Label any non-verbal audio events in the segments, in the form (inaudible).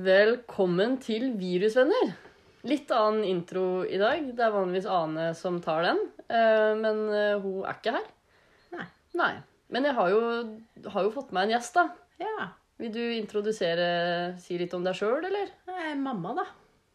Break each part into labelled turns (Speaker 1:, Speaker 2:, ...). Speaker 1: Velkommen til Virusvenner. Litt annen intro i dag. Det er vanligvis Ane som tar den, eh, men eh, hun er ikke her.
Speaker 2: Nei.
Speaker 1: Nei. Men jeg har jo, har jo fått meg en gjest, da.
Speaker 2: Ja.
Speaker 1: Vil du introdusere, si litt om deg sjøl, eller?
Speaker 2: Jeg er mamma, da.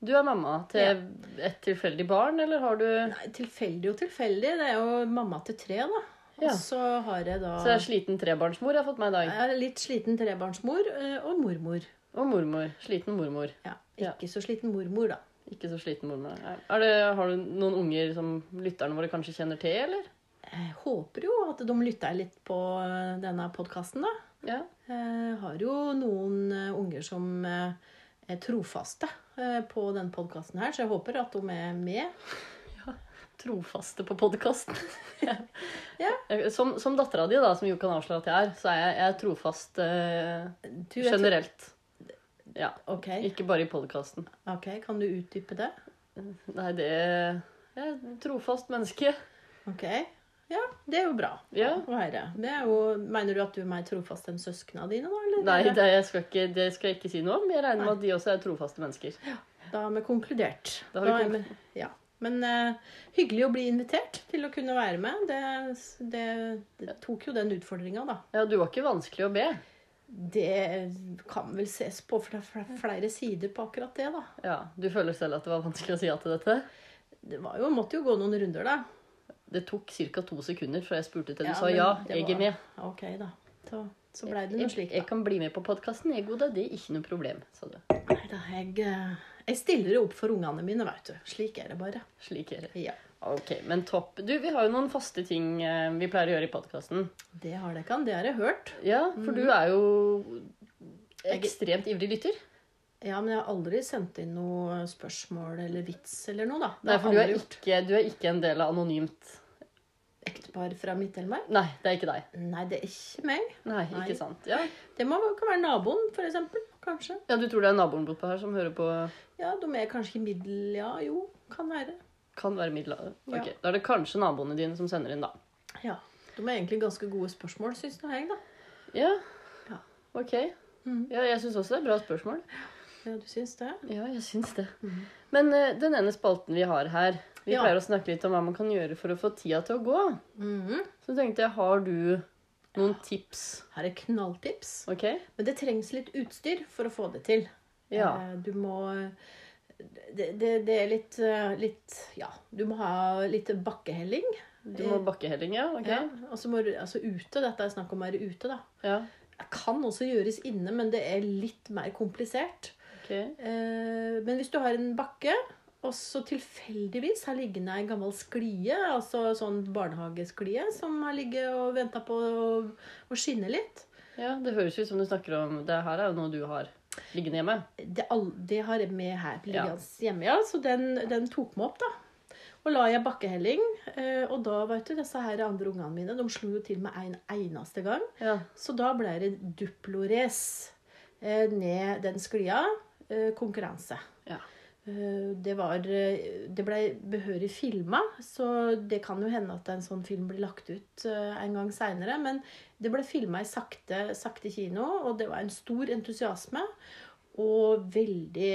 Speaker 1: Du er mamma til et tilfeldig barn, eller har du
Speaker 2: Nei, tilfeldig og tilfeldig. Det er jo mamma til tre, da.
Speaker 1: Ja.
Speaker 2: Og så har jeg da
Speaker 1: Så jeg er sliten trebarnsmor jeg har fått meg i dag.
Speaker 2: jeg er litt sliten trebarnsmor eh, og mormor.
Speaker 1: Og mormor. Sliten mormor.
Speaker 2: Ja,
Speaker 1: Ja.
Speaker 2: Ikke så sliten mormor, da.
Speaker 1: Ikke så sliten mormor. Nei. Er det, har du noen unger som lytterne våre kanskje kjenner til, eller?
Speaker 2: Jeg håper jo at de lytter litt på eh, denne podkasten, da.
Speaker 1: Ja.
Speaker 2: Jeg har jo noen eh, unger som eh, er trofaste eh, på denne podkasten her, så jeg håper at de er med.
Speaker 1: trofaste på (laughs) podkasten.
Speaker 2: Ja.
Speaker 1: Som, som dattera di, da, som jo kan avsløre at jeg er, så er jeg, jeg er trofast eh,
Speaker 2: Du er tro-
Speaker 1: generelt. Ja.
Speaker 2: Ok,
Speaker 1: Ikke bare i podkasten.
Speaker 2: ok, kan du utdype det?
Speaker 1: Nei, det Jeg er et trofast menneske.
Speaker 2: Ok. Ja, det er jo bra
Speaker 1: Ja.
Speaker 2: å høre. Det er jo, mener du at du er mer trofast enn søsknene dine, da? Eller?
Speaker 1: Nei, det, jeg skal ikke, det skal jeg ikke si noe om. Jeg regner med at de også er trofaste mennesker.
Speaker 2: Da har vi konkludert.
Speaker 1: Da har vi
Speaker 2: er
Speaker 1: konkludert.
Speaker 2: ja. Men eh, hyggelig å bli invitert til å kunne være med. Det, det, det tok jo den utfordringa, da.
Speaker 1: Ja, du var ikke vanskelig å be.
Speaker 2: Det kan vel ses på fra fra flere sider på akkurat det, da.
Speaker 1: Ja, Du føler selv at det var vanskelig å si ja til dette?
Speaker 2: Det var jo, måtte jo gå noen runder, da.
Speaker 1: Det tok ca. to sekunder fra jeg spurte til du
Speaker 2: Ja,
Speaker 1: sa
Speaker 2: men
Speaker 1: ja.
Speaker 2: det
Speaker 1: Jeg
Speaker 2: var-
Speaker 1: er med.
Speaker 2: Ok, da. Så, så blei det noe
Speaker 1: jeg,
Speaker 2: slik,
Speaker 1: jeg
Speaker 2: da.
Speaker 1: kan bli med på podkasten. Jeg, Goda. Det er ikke noe problem, sa du.
Speaker 2: Nei da, jeg, eh, jeg stiller opp for ungene mine, veit du. Slik er det bare.
Speaker 1: Slik er det.
Speaker 2: Ja.
Speaker 1: Ok, men topp. Du, vi har jo noen faste ting eh, vi pleier å gjøre i Mhm. podkasten.
Speaker 2: Det har dere kan, det har jeg hørt.
Speaker 1: Ja, for du er jo ekstremt ivrig lytter.
Speaker 2: Ja, men jeg har aldri sendt inn noe spørsmål eller vits eller noe, da. Det
Speaker 1: Nei,
Speaker 2: har
Speaker 1: for du er,
Speaker 2: aldri gjort.
Speaker 1: ikke, du er ikke en del av anonymt.
Speaker 2: Ektepar fra Midt-Telemark?
Speaker 1: Nei, det er ikke deg.
Speaker 2: Nei, det er ikke meg.
Speaker 1: Nei,
Speaker 2: Nei.
Speaker 1: ikke sant. Ja.
Speaker 2: Det må kan være naboen, for eksempel. Kanskje.
Speaker 1: ja, du tror det er naboen bortpå her som hører på
Speaker 2: Ja, de er kanskje i middel... Ja, jo, kan være.
Speaker 1: Kan være middelalderen.
Speaker 2: Ja.
Speaker 1: Ok, Da er det kanskje naboene dine som sender inn, da.
Speaker 2: Ja. De er egentlig ganske gode spørsmål, syns nå jeg, da.
Speaker 1: Ja.
Speaker 2: Ja.
Speaker 1: Ok.
Speaker 2: Mhm.
Speaker 1: Ja, jeg syns også det er bra spørsmål.
Speaker 2: Ja, du syns det?
Speaker 1: Ja, jeg syns det. Men eh, den ene spalten vi har her Vi
Speaker 2: Ja.
Speaker 1: pleier å snakke litt om hva man kan gjøre for å få tida til å gå.
Speaker 2: Mhm.
Speaker 1: Så tenkte jeg, har du noen tips?
Speaker 2: Her er knalltips.
Speaker 1: Ok?
Speaker 2: Men det trengs litt utstyr for å få det til.
Speaker 1: Ja.
Speaker 2: Eh, Du må det, det, det er litt, eh, litt Ja, du må ha litt bakkehelling.
Speaker 1: Du må bakkehelling, ja? Ok?
Speaker 2: Ja, og så må du, altså ute, Dette er snakk om å være ute, da.
Speaker 1: Ja.
Speaker 2: Det kan også gjøres inne, men det er litt mer komplisert.
Speaker 1: Ok.
Speaker 2: Eh, men hvis du har en bakke, og så tilfeldigvis har liggende ei gammel sklie, altså sånn barnehagesklie, som har ligget og venta på å, å skinne litt
Speaker 1: Ja, det høres ut som du snakker om Det her er jo noe du har liggende hjemme.
Speaker 2: det, all, det har jeg med her på
Speaker 1: Ja.
Speaker 2: Liggans hjemme, ja. Så den, den tok meg opp, da. Og la jeg bakkehelling. eh, Og da, vet du, disse her andre ungene mine, de slo jo til med en eneste gang.
Speaker 1: Ja.
Speaker 2: Så da ble det duplores eh, ned den sklia. eh, Konkurranse.
Speaker 1: Ja.
Speaker 2: Eh, Det, var, eh, det ble behørig filma, så det kan jo hende at en sånn film blir lagt ut eh, en gang seinere. Men det ble filma i sakte, sakte kino, og det var en stor entusiasme. Og veldig,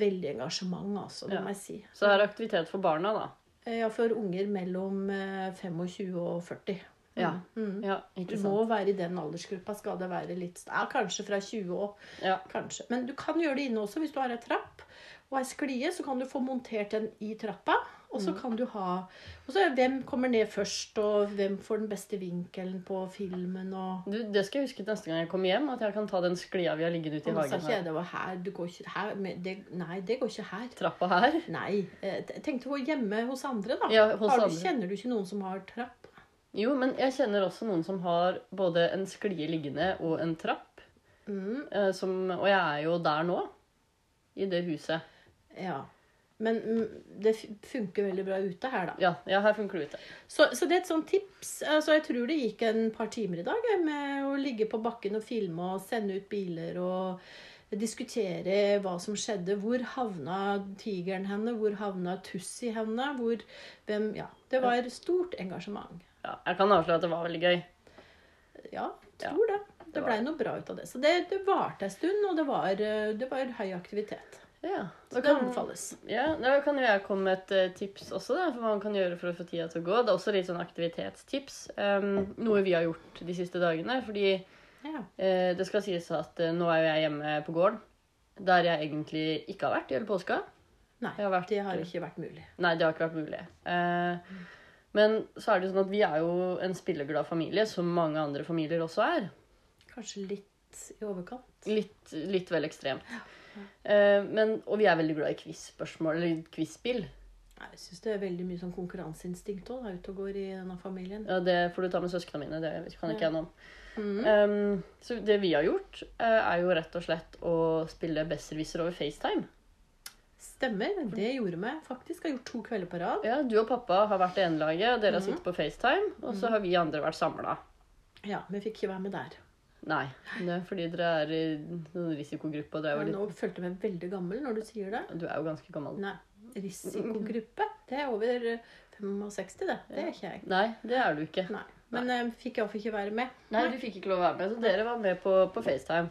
Speaker 2: veldig engasjement, altså, det
Speaker 1: Ja.
Speaker 2: må jeg si.
Speaker 1: Så det er aktivitet for barna, da.
Speaker 2: Eh, Ja, for unger mellom eh, 25 og 40.
Speaker 1: Ja.
Speaker 2: Mm.
Speaker 1: ja
Speaker 2: Du
Speaker 1: ikke sant?
Speaker 2: må være i den aldersgruppa. Skal det være litt ja, Kanskje fra 20 opp.
Speaker 1: Ja.
Speaker 2: Kanskje. Men du kan gjøre det inne også. Hvis du har ei trapp og ei sklie, så kan du få montert den i trappa. Og
Speaker 1: Mm.
Speaker 2: så kan du ha Og så er hvem kommer ned først, og hvem får den beste vinkelen på filmen, og
Speaker 1: Du, det skal jeg huske til neste gang jeg kommer hjem, at jeg kan ta den sklia vi har liggende ute i
Speaker 2: Og nå sa
Speaker 1: hagen
Speaker 2: ikke jeg
Speaker 1: her.
Speaker 2: det var her. Du går ikke her. Men det, nei, det går ikke her.
Speaker 1: Trappa her.
Speaker 2: Nei. eh, Tenk deg å gå hjemme hos andre, da.
Speaker 1: Ja, hos
Speaker 2: har du,
Speaker 1: andre.
Speaker 2: Kjenner du ikke noen som har trapp?
Speaker 1: Jo, men jeg kjenner også noen som har både en sklie liggende og en trapp.
Speaker 2: Mm,
Speaker 1: eh, Som, og jeg er jo der nå. I det huset.
Speaker 2: ja. Men mm, det f- funker veldig bra ute her, da.
Speaker 1: Ja, ja her funker det ute.
Speaker 2: Så, så det er et sånt tips. Altså, jeg tror det gikk en par timer i dag jeg, med å ligge på bakken og filme og sende ut biler og diskutere hva som skjedde. Hvor havna tigeren henne? Hvor havna Tussi henne? Hvor, hvem, ja, det var stort engasjement.
Speaker 1: Ja, jeg kan avsløre at det var veldig gøy.
Speaker 2: Ja, jeg tror det. Det
Speaker 1: var-
Speaker 2: blei noe bra ut av det. Så det, det varte ei stund, og det var, eh, det var høy aktivitet.
Speaker 1: Ja,
Speaker 2: Så det anbefales.
Speaker 1: Ja, Da kan jo jeg komme med et eh, tips også, da, for hva man kan gjøre for å få tida til å gå. Det er også litt sånn aktivitetstips. Em, noe vi har gjort de siste dagene. Fordi
Speaker 2: Ja.
Speaker 1: eh, det skal sies at eh, nå er jo jeg hjemme på gården. Der jeg egentlig ikke har vært i hele påska.
Speaker 2: Nei,
Speaker 1: Jeg har vært-
Speaker 2: det har ikke vært mulig.
Speaker 1: Nei, det har ikke vært mulig. Eh, men så er det jo sånn at vi er jo en spilleglad familie, som mange andre familier også er.
Speaker 2: Kanskje litt i overkant.
Speaker 1: Litt, litt vel ekstremt. Eh, men, og vi er veldig glad i quiz-spørsmål, eller quiz-spill.
Speaker 2: Nei, Jeg syns det er veldig mye sånn konkurranseinstinkt òg, ute og går i denne familien.
Speaker 1: Ja, det får du ta med søsknene mine. Det kan ikke jeg noe om.
Speaker 2: Mhm.
Speaker 1: Ehm, så det vi har gjort, eh, er jo rett og slett å spille Besserwisser over FaceTime.
Speaker 2: Stemmer. Det gjorde vi faktisk. Har gjort to kvelder på rad.
Speaker 1: Ja, Du og pappa har vært det ene laget, og dere har
Speaker 2: Mhm.
Speaker 1: sittet på FaceTime. Og så har vi andre vært samla.
Speaker 2: Ja, Vi fikk ikke være med der.
Speaker 1: Nei, det er fordi dere er i noen risikogruppe. Og dere er
Speaker 2: Men
Speaker 1: jo
Speaker 2: Nå følte jeg meg veldig gammel når du sier det.
Speaker 1: litt, du er jo ganske gammel.
Speaker 2: Nei. Risikogruppe. Det er over eh, 65, det. Det er ikke jeg.
Speaker 1: Nei, det er du ikke.
Speaker 2: Nei. Men eh, fikk iallfall ikke være med.
Speaker 1: Nei, du fikk ikke lov å være med, så dere var med på, på FaceTime.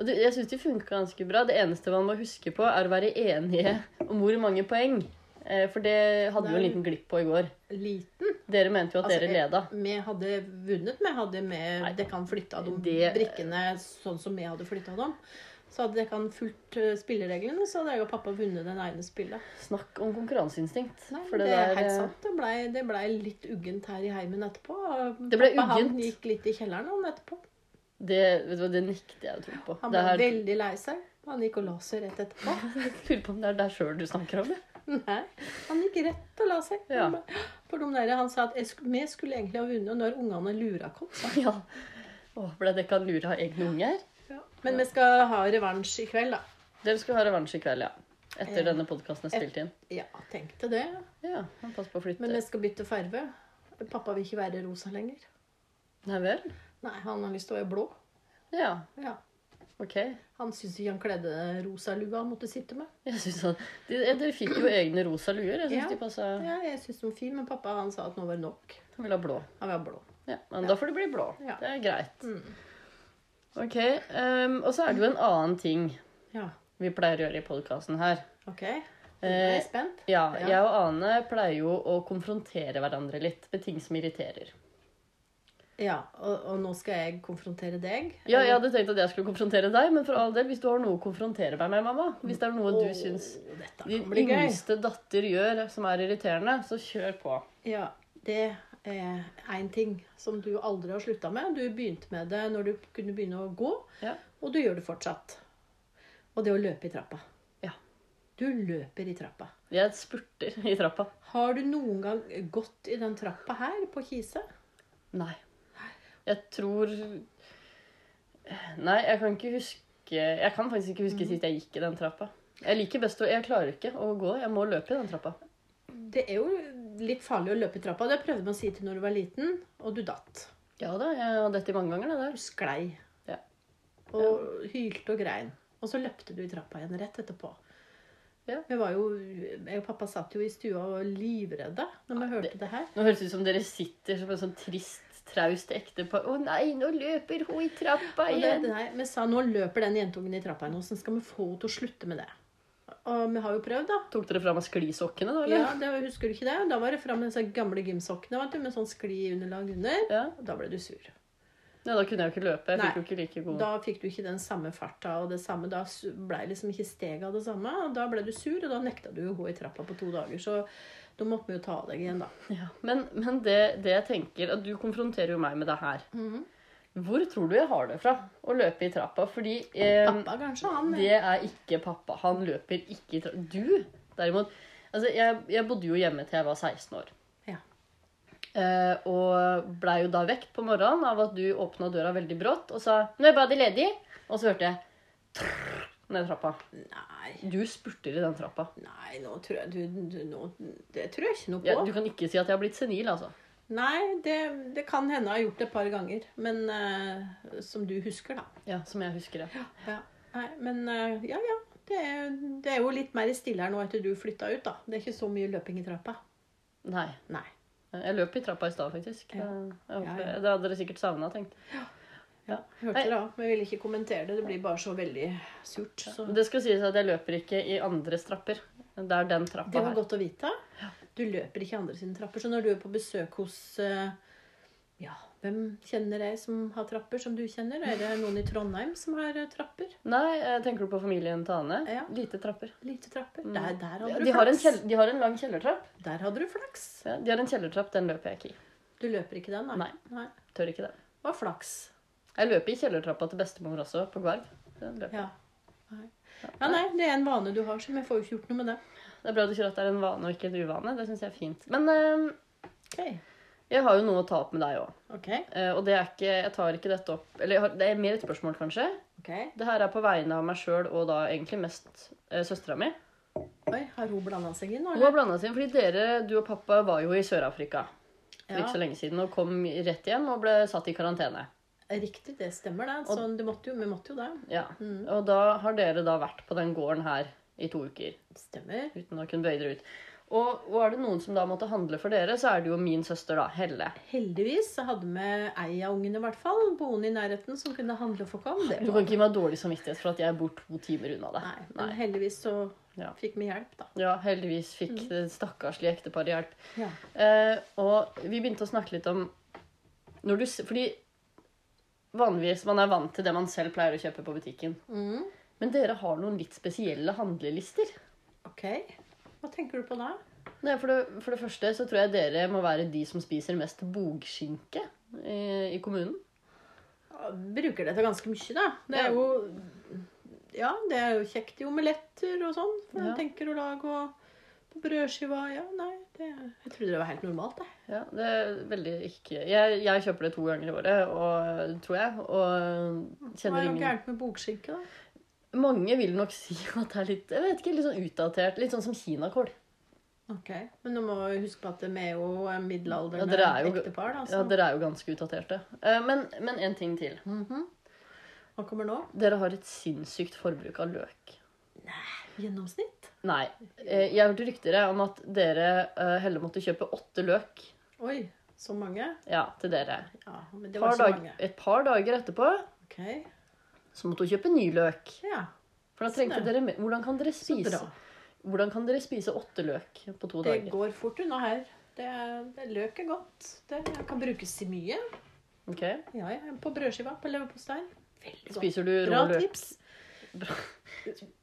Speaker 1: Og det, jeg syns de funka ganske bra. Det eneste man må huske på, er å være enige om hvor mange poeng. Eh, for det hadde vi jo en
Speaker 2: Nei.
Speaker 1: liten glipp på i går.
Speaker 2: Liten.
Speaker 1: Dere mente jo at
Speaker 2: Altså,
Speaker 1: dere
Speaker 2: jeg-
Speaker 1: leda.
Speaker 2: Vi hadde vunnet. Vi hadde med
Speaker 1: Nei.
Speaker 2: Dere kan flytta de
Speaker 1: Det-
Speaker 2: brikkene sånn som vi hadde flytta dem. Så hadde dere kan fulgt eh, spillereglene, så hadde jeg og pappa vunnet den ene spillet.
Speaker 1: Snakk om konkurranseinstinkt.
Speaker 2: Nei,
Speaker 1: for
Speaker 2: det, er helt
Speaker 1: eh,
Speaker 2: sant. Det blei det ble litt uggent her i heimen etterpå.
Speaker 1: Det ble
Speaker 2: Pappa,
Speaker 1: uggent?
Speaker 2: Han gikk litt i kjelleren han etterpå.
Speaker 1: Det, vet du hva, det nekter jeg å tro på.
Speaker 2: Han
Speaker 1: Det
Speaker 2: ble
Speaker 1: er,
Speaker 2: veldig lei seg. Han gikk og la seg rett
Speaker 1: (laughs)
Speaker 2: etterpå.
Speaker 1: jeg (laughs) lurer på om det er deg sjøl du snakker
Speaker 2: (laughs)
Speaker 1: om. det.
Speaker 2: Nei, han gikk rett og la seg.
Speaker 1: Ja.
Speaker 2: For de der, Han sa at jeg sk- vi skulle egentlig ha vunnet når ungene lura oss.
Speaker 1: Ja. Åh, ble det ikke han lure av egne unger?
Speaker 2: Men vi skal ha revansj i kveld, da.
Speaker 1: Dere skal ha revansj i kveld, ja. Etter
Speaker 2: Ja.
Speaker 1: denne podkasten er spilt inn.
Speaker 2: Ja, tenkte det.
Speaker 1: Ja, han passer på å flytte.
Speaker 2: Men vi skal bytte farve. Pappa vil ikke være rosa lenger.
Speaker 1: Nei vel?
Speaker 2: Nei, han har lyst til å være blå.
Speaker 1: Ja,
Speaker 2: Ja.
Speaker 1: ok.
Speaker 2: Han syns ikke han kledde den rosa lua han måtte sitte med.
Speaker 1: Jeg synes han, de, eh, Dere fikk jo egne rosa luer. Jeg syns
Speaker 2: Ja.
Speaker 1: de passa
Speaker 2: Ja, jeg syns den var fin, men pappa han sa at nå var det nok.
Speaker 1: Han ville ha blå.
Speaker 2: Han var blå.
Speaker 1: Ja, men da får det bli blå.
Speaker 2: Ja.
Speaker 1: Det er greit.
Speaker 2: Mm.
Speaker 1: Ok, ehm, Og så er det jo en annen ting
Speaker 2: Ja,
Speaker 1: vi pleier å gjøre i podkasten her.
Speaker 2: ok. Nå er jeg spent.
Speaker 1: Ja,
Speaker 2: Ja.
Speaker 1: jeg og Ane pleier jo å konfrontere hverandre litt med ting som irriterer.
Speaker 2: Ja, og, og nå skal jeg konfrontere deg.
Speaker 1: Ja, jeg hadde tenkt at jeg skulle konfrontere deg, men for all del, hvis du har noe å konfrontere meg med, mamma Hvis det er noe du
Speaker 2: Åh,
Speaker 1: syns
Speaker 2: Dette
Speaker 1: din
Speaker 2: kan bli gøy.
Speaker 1: yngste datter gjør som er irriterende, så kjør på.
Speaker 2: Ja, det er én ting som du aldri har slutta med. Du begynte med det når du kunne begynne å gå,
Speaker 1: Ja.
Speaker 2: og du gjør det fortsatt. Og det å løpe i trappa.
Speaker 1: Ja.
Speaker 2: Du løper i trappa.
Speaker 1: Jeg spurter i trappa.
Speaker 2: Har du noen gang gått i den trappa her på Kise?
Speaker 1: Nei. Jeg tror Nei, jeg kan ikke huske Jeg kan faktisk ikke huske sist jeg gikk i den trappa. Jeg liker best å Jeg klarer ikke å gå. Jeg må løpe i den trappa.
Speaker 2: Det er jo litt farlig å løpe i trappa. Det prøvde man å si til når du var liten, og du datt.
Speaker 1: Ja da, jeg har dette mange ganger, det der.
Speaker 2: Du sklei.
Speaker 1: Ja.
Speaker 2: Og hylte og grein. Og så løpte du i trappa igjen rett etterpå.
Speaker 1: Ja.
Speaker 2: Vi var jo, jeg og pappa satt jo i stua og var livredde når vi hørte det, her.
Speaker 1: Nå høres det ut som dere sitter som en sånn trist, traust ektepar. Å nei, nå løper hun i trappa
Speaker 2: Og det,
Speaker 1: igjen.
Speaker 2: nei, vi sa nå løper den jentungen i trappa igjen. Hvordan skal vi få henne til å slutte med det? Og vi har jo prøvd, da.
Speaker 1: Tok dere fram av sklisokkene, da?
Speaker 2: Ja,
Speaker 1: eller?
Speaker 2: det, Husker du ikke det? Da var det fram med disse gamle gymsokkene vet du, med sånn skliunderlag under.
Speaker 1: Ja.
Speaker 2: Og Da ble du sur.
Speaker 1: ja, da kunne jeg jo ikke løpe. Jeg
Speaker 2: Nei.
Speaker 1: fikk jo ikke like god
Speaker 2: Da fikk du ikke den samme farta og det samme. Da su- ble liksom ikke stega det samme. Og da ble du sur, og da nekta du å gå i trappa på to dager. Så da måtte vi jo ta av deg igjen, da.
Speaker 1: ja. Men, men det, det jeg tenker at Du konfronterer jo meg med det her. Hvor tror du jeg har det fra å løpe i trappa? Fordi eh,
Speaker 2: Pappa kanskje, han.
Speaker 1: det er ikke pappa. Han løper ikke i trappa. Du, derimot Altså, jeg, jeg bodde jo hjemme til jeg var 16 år.
Speaker 2: Ja.
Speaker 1: Eh, og blei jo da vekt på morgenen av at du åpna døra veldig brått og sa 'Nå er badet ledig', og så hørte jeg trrr ned trappa.
Speaker 2: Nei,
Speaker 1: Du spurter i den trappa.
Speaker 2: nei, nå tror jeg du, du nå, Det tror jeg ikke noe på.
Speaker 1: Ja, du kan ikke si at jeg har blitt senil, altså.
Speaker 2: Nei, det, det kan hende jeg har gjort det et par ganger. Men eh, som du husker, da.
Speaker 1: Ja, Som jeg husker det.
Speaker 2: Ja. Nei, men eh, ja, ja. Det er, det er jo litt mer stille her nå etter du flytta ut, da. Det er ikke så mye løping i trappa.
Speaker 1: Nei.
Speaker 2: Nei.
Speaker 1: Jeg løp i trappa i stad, faktisk.
Speaker 2: Ja.
Speaker 1: Jeg, jeg håper,
Speaker 2: Ja, ja.
Speaker 1: Det hadde dere sikkert savna, tenkt.
Speaker 2: Ja, jeg hørte det òg, men jeg ville ikke kommentere det. Det blir bare så veldig surt. Så.
Speaker 1: Det skal sies at jeg løper ikke i andres trapper. Det er den
Speaker 2: Det
Speaker 1: trappa
Speaker 2: var
Speaker 1: her.
Speaker 2: godt å vite. Du løper ikke i andre sine trapper. Så når du er på besøk hos eh, ja, hvem kjenner jeg som har trapper, som du kjenner? Er det noen i Trondheim som har eh, trapper?
Speaker 1: Nei, eh, tenker du på familien Tane?
Speaker 2: Ja.
Speaker 1: Lite trapper.
Speaker 2: Lite trapper?
Speaker 1: Mm.
Speaker 2: Der, der hadde du
Speaker 1: De har, en
Speaker 2: flaks.
Speaker 1: kjell, de har en lang kjellertrapp.
Speaker 2: Der hadde du flaks.
Speaker 1: Ja, de har en kjellertrapp, den løper jeg ikke i.
Speaker 2: Du løper ikke den,
Speaker 1: Nei.
Speaker 2: Nei.
Speaker 1: Tør ikke det.
Speaker 2: Det var flaks.
Speaker 1: Jeg løper i kjellertrappa til bestemor også, på Gvarv. Den løper jeg.
Speaker 2: Ja. Nei. ja, nei, det er en vane du har, som jeg får jo ikke gjort noe med det.
Speaker 1: Det er bra du sier at det er en vane og ikke en uvane. Det syns jeg er fint. Men eh,
Speaker 2: Ok.
Speaker 1: jeg har jo noe å ta opp med deg òg.
Speaker 2: Ok.
Speaker 1: og det er ikke, jeg tar ikke dette opp Eller jeg har, det er mer et spørsmål, kanskje.
Speaker 2: Ok.
Speaker 1: Det her er på vegne av meg sjøl og da egentlig mest uh, søstera mi.
Speaker 2: Oi, har hun blanda seg inn nå,
Speaker 1: Hun har blanda seg inn fordi dere, du og pappa, var jo i Sør-Afrika for ikke så
Speaker 2: Ja,
Speaker 1: lenge siden og kom rett hjem og ble satt i karantene.
Speaker 2: riktig, det stemmer, det. Så det måtte jo, vi måtte jo det.
Speaker 1: Ja.
Speaker 2: Mm.
Speaker 1: Og da har dere da vært på den gården her i to uker.
Speaker 2: Stemmer.
Speaker 1: Uten å kunne bøye dere ut. Og, og er det noen som da måtte handle for dere, så er det jo min søster, da. Helle.
Speaker 2: Heldigvis så hadde vi ei av ungene, i hvert fall, boende i nærheten, som kunne handle og få komme. Det
Speaker 1: Du kan ikke gi meg dårlig samvittighet for at jeg bor to timer unna deg.
Speaker 2: Nei, men heldigvis så
Speaker 1: Ja.
Speaker 2: fikk vi hjelp, da.
Speaker 1: Ja, heldigvis fikk det stakkarslige ekteparet hjelp.
Speaker 2: Mm. Ja.
Speaker 1: Eh, og vi begynte å snakke litt om når du, s- Fordi vanligvis man er vant til det man selv pleier å kjøpe på butikken.
Speaker 2: Mm.
Speaker 1: Men dere har noen litt spesielle handlelister.
Speaker 2: Ok. Hva tenker du på da?
Speaker 1: Nei, for, det, for det første så tror jeg dere må være de som spiser mest bogskinke i, i kommunen.
Speaker 2: Ja, Bruker det til ganske mye, da. Det
Speaker 1: Ja.
Speaker 2: er jo Ja, det er jo kjekt i omeletter og sånn. For
Speaker 1: Ja.
Speaker 2: jeg tenker å lage og på brødskiva Ja, nei, det Jeg trodde det var helt normalt, jeg.
Speaker 1: Ja, det er veldig ikke Jeg, jeg kjøper det to ganger i året, og, tror jeg, og
Speaker 2: Hva
Speaker 1: kjenner
Speaker 2: er det
Speaker 1: ingen
Speaker 2: gærent med bokskinke, da?
Speaker 1: Mange vil nok (laughs) si at det er litt jeg vet ikke, litt sånn utdatert. Litt sånn som kinakål.
Speaker 2: Ok, Men nå må vi huske på at vi er jo
Speaker 1: Ja,
Speaker 2: middelaldrende
Speaker 1: dere er jo-
Speaker 2: ektepar, da.
Speaker 1: Ja,
Speaker 2: Så.
Speaker 1: dere er jo ganske utdaterte. Eh, Men, men en ting til.
Speaker 2: Mhm. Hva kommer nå?
Speaker 1: Dere har et sinnssykt forbruk av løk.
Speaker 2: Gjennomsnitt?
Speaker 1: Nei. eh, Jeg hørte rykter jeg, om at dere eh, heller måtte kjøpe åtte løk
Speaker 2: Oi, så mange?
Speaker 1: ja, til dere.
Speaker 2: Ja, men det var
Speaker 1: Par
Speaker 2: så
Speaker 1: dag,
Speaker 2: mange.
Speaker 1: et par dager etterpå
Speaker 2: Ok,
Speaker 1: så måtte hun kjøpe ny løk.
Speaker 2: ja,
Speaker 1: For da trengte
Speaker 2: Sånn, ja.
Speaker 1: dere mer. Hvordan kan dere
Speaker 2: så
Speaker 1: spise
Speaker 2: bra.
Speaker 1: Hvordan kan dere spise åtte løk på to
Speaker 2: Det
Speaker 1: dager?
Speaker 2: går fort unna her. Det, er- det Løk er godt. Det kan brukes til mye.
Speaker 1: Ok,
Speaker 2: Ja, ja, På brødskiva, på leverpostei. Veldig godt.
Speaker 1: Spiser du rå
Speaker 2: Bra
Speaker 1: løk,
Speaker 2: tips.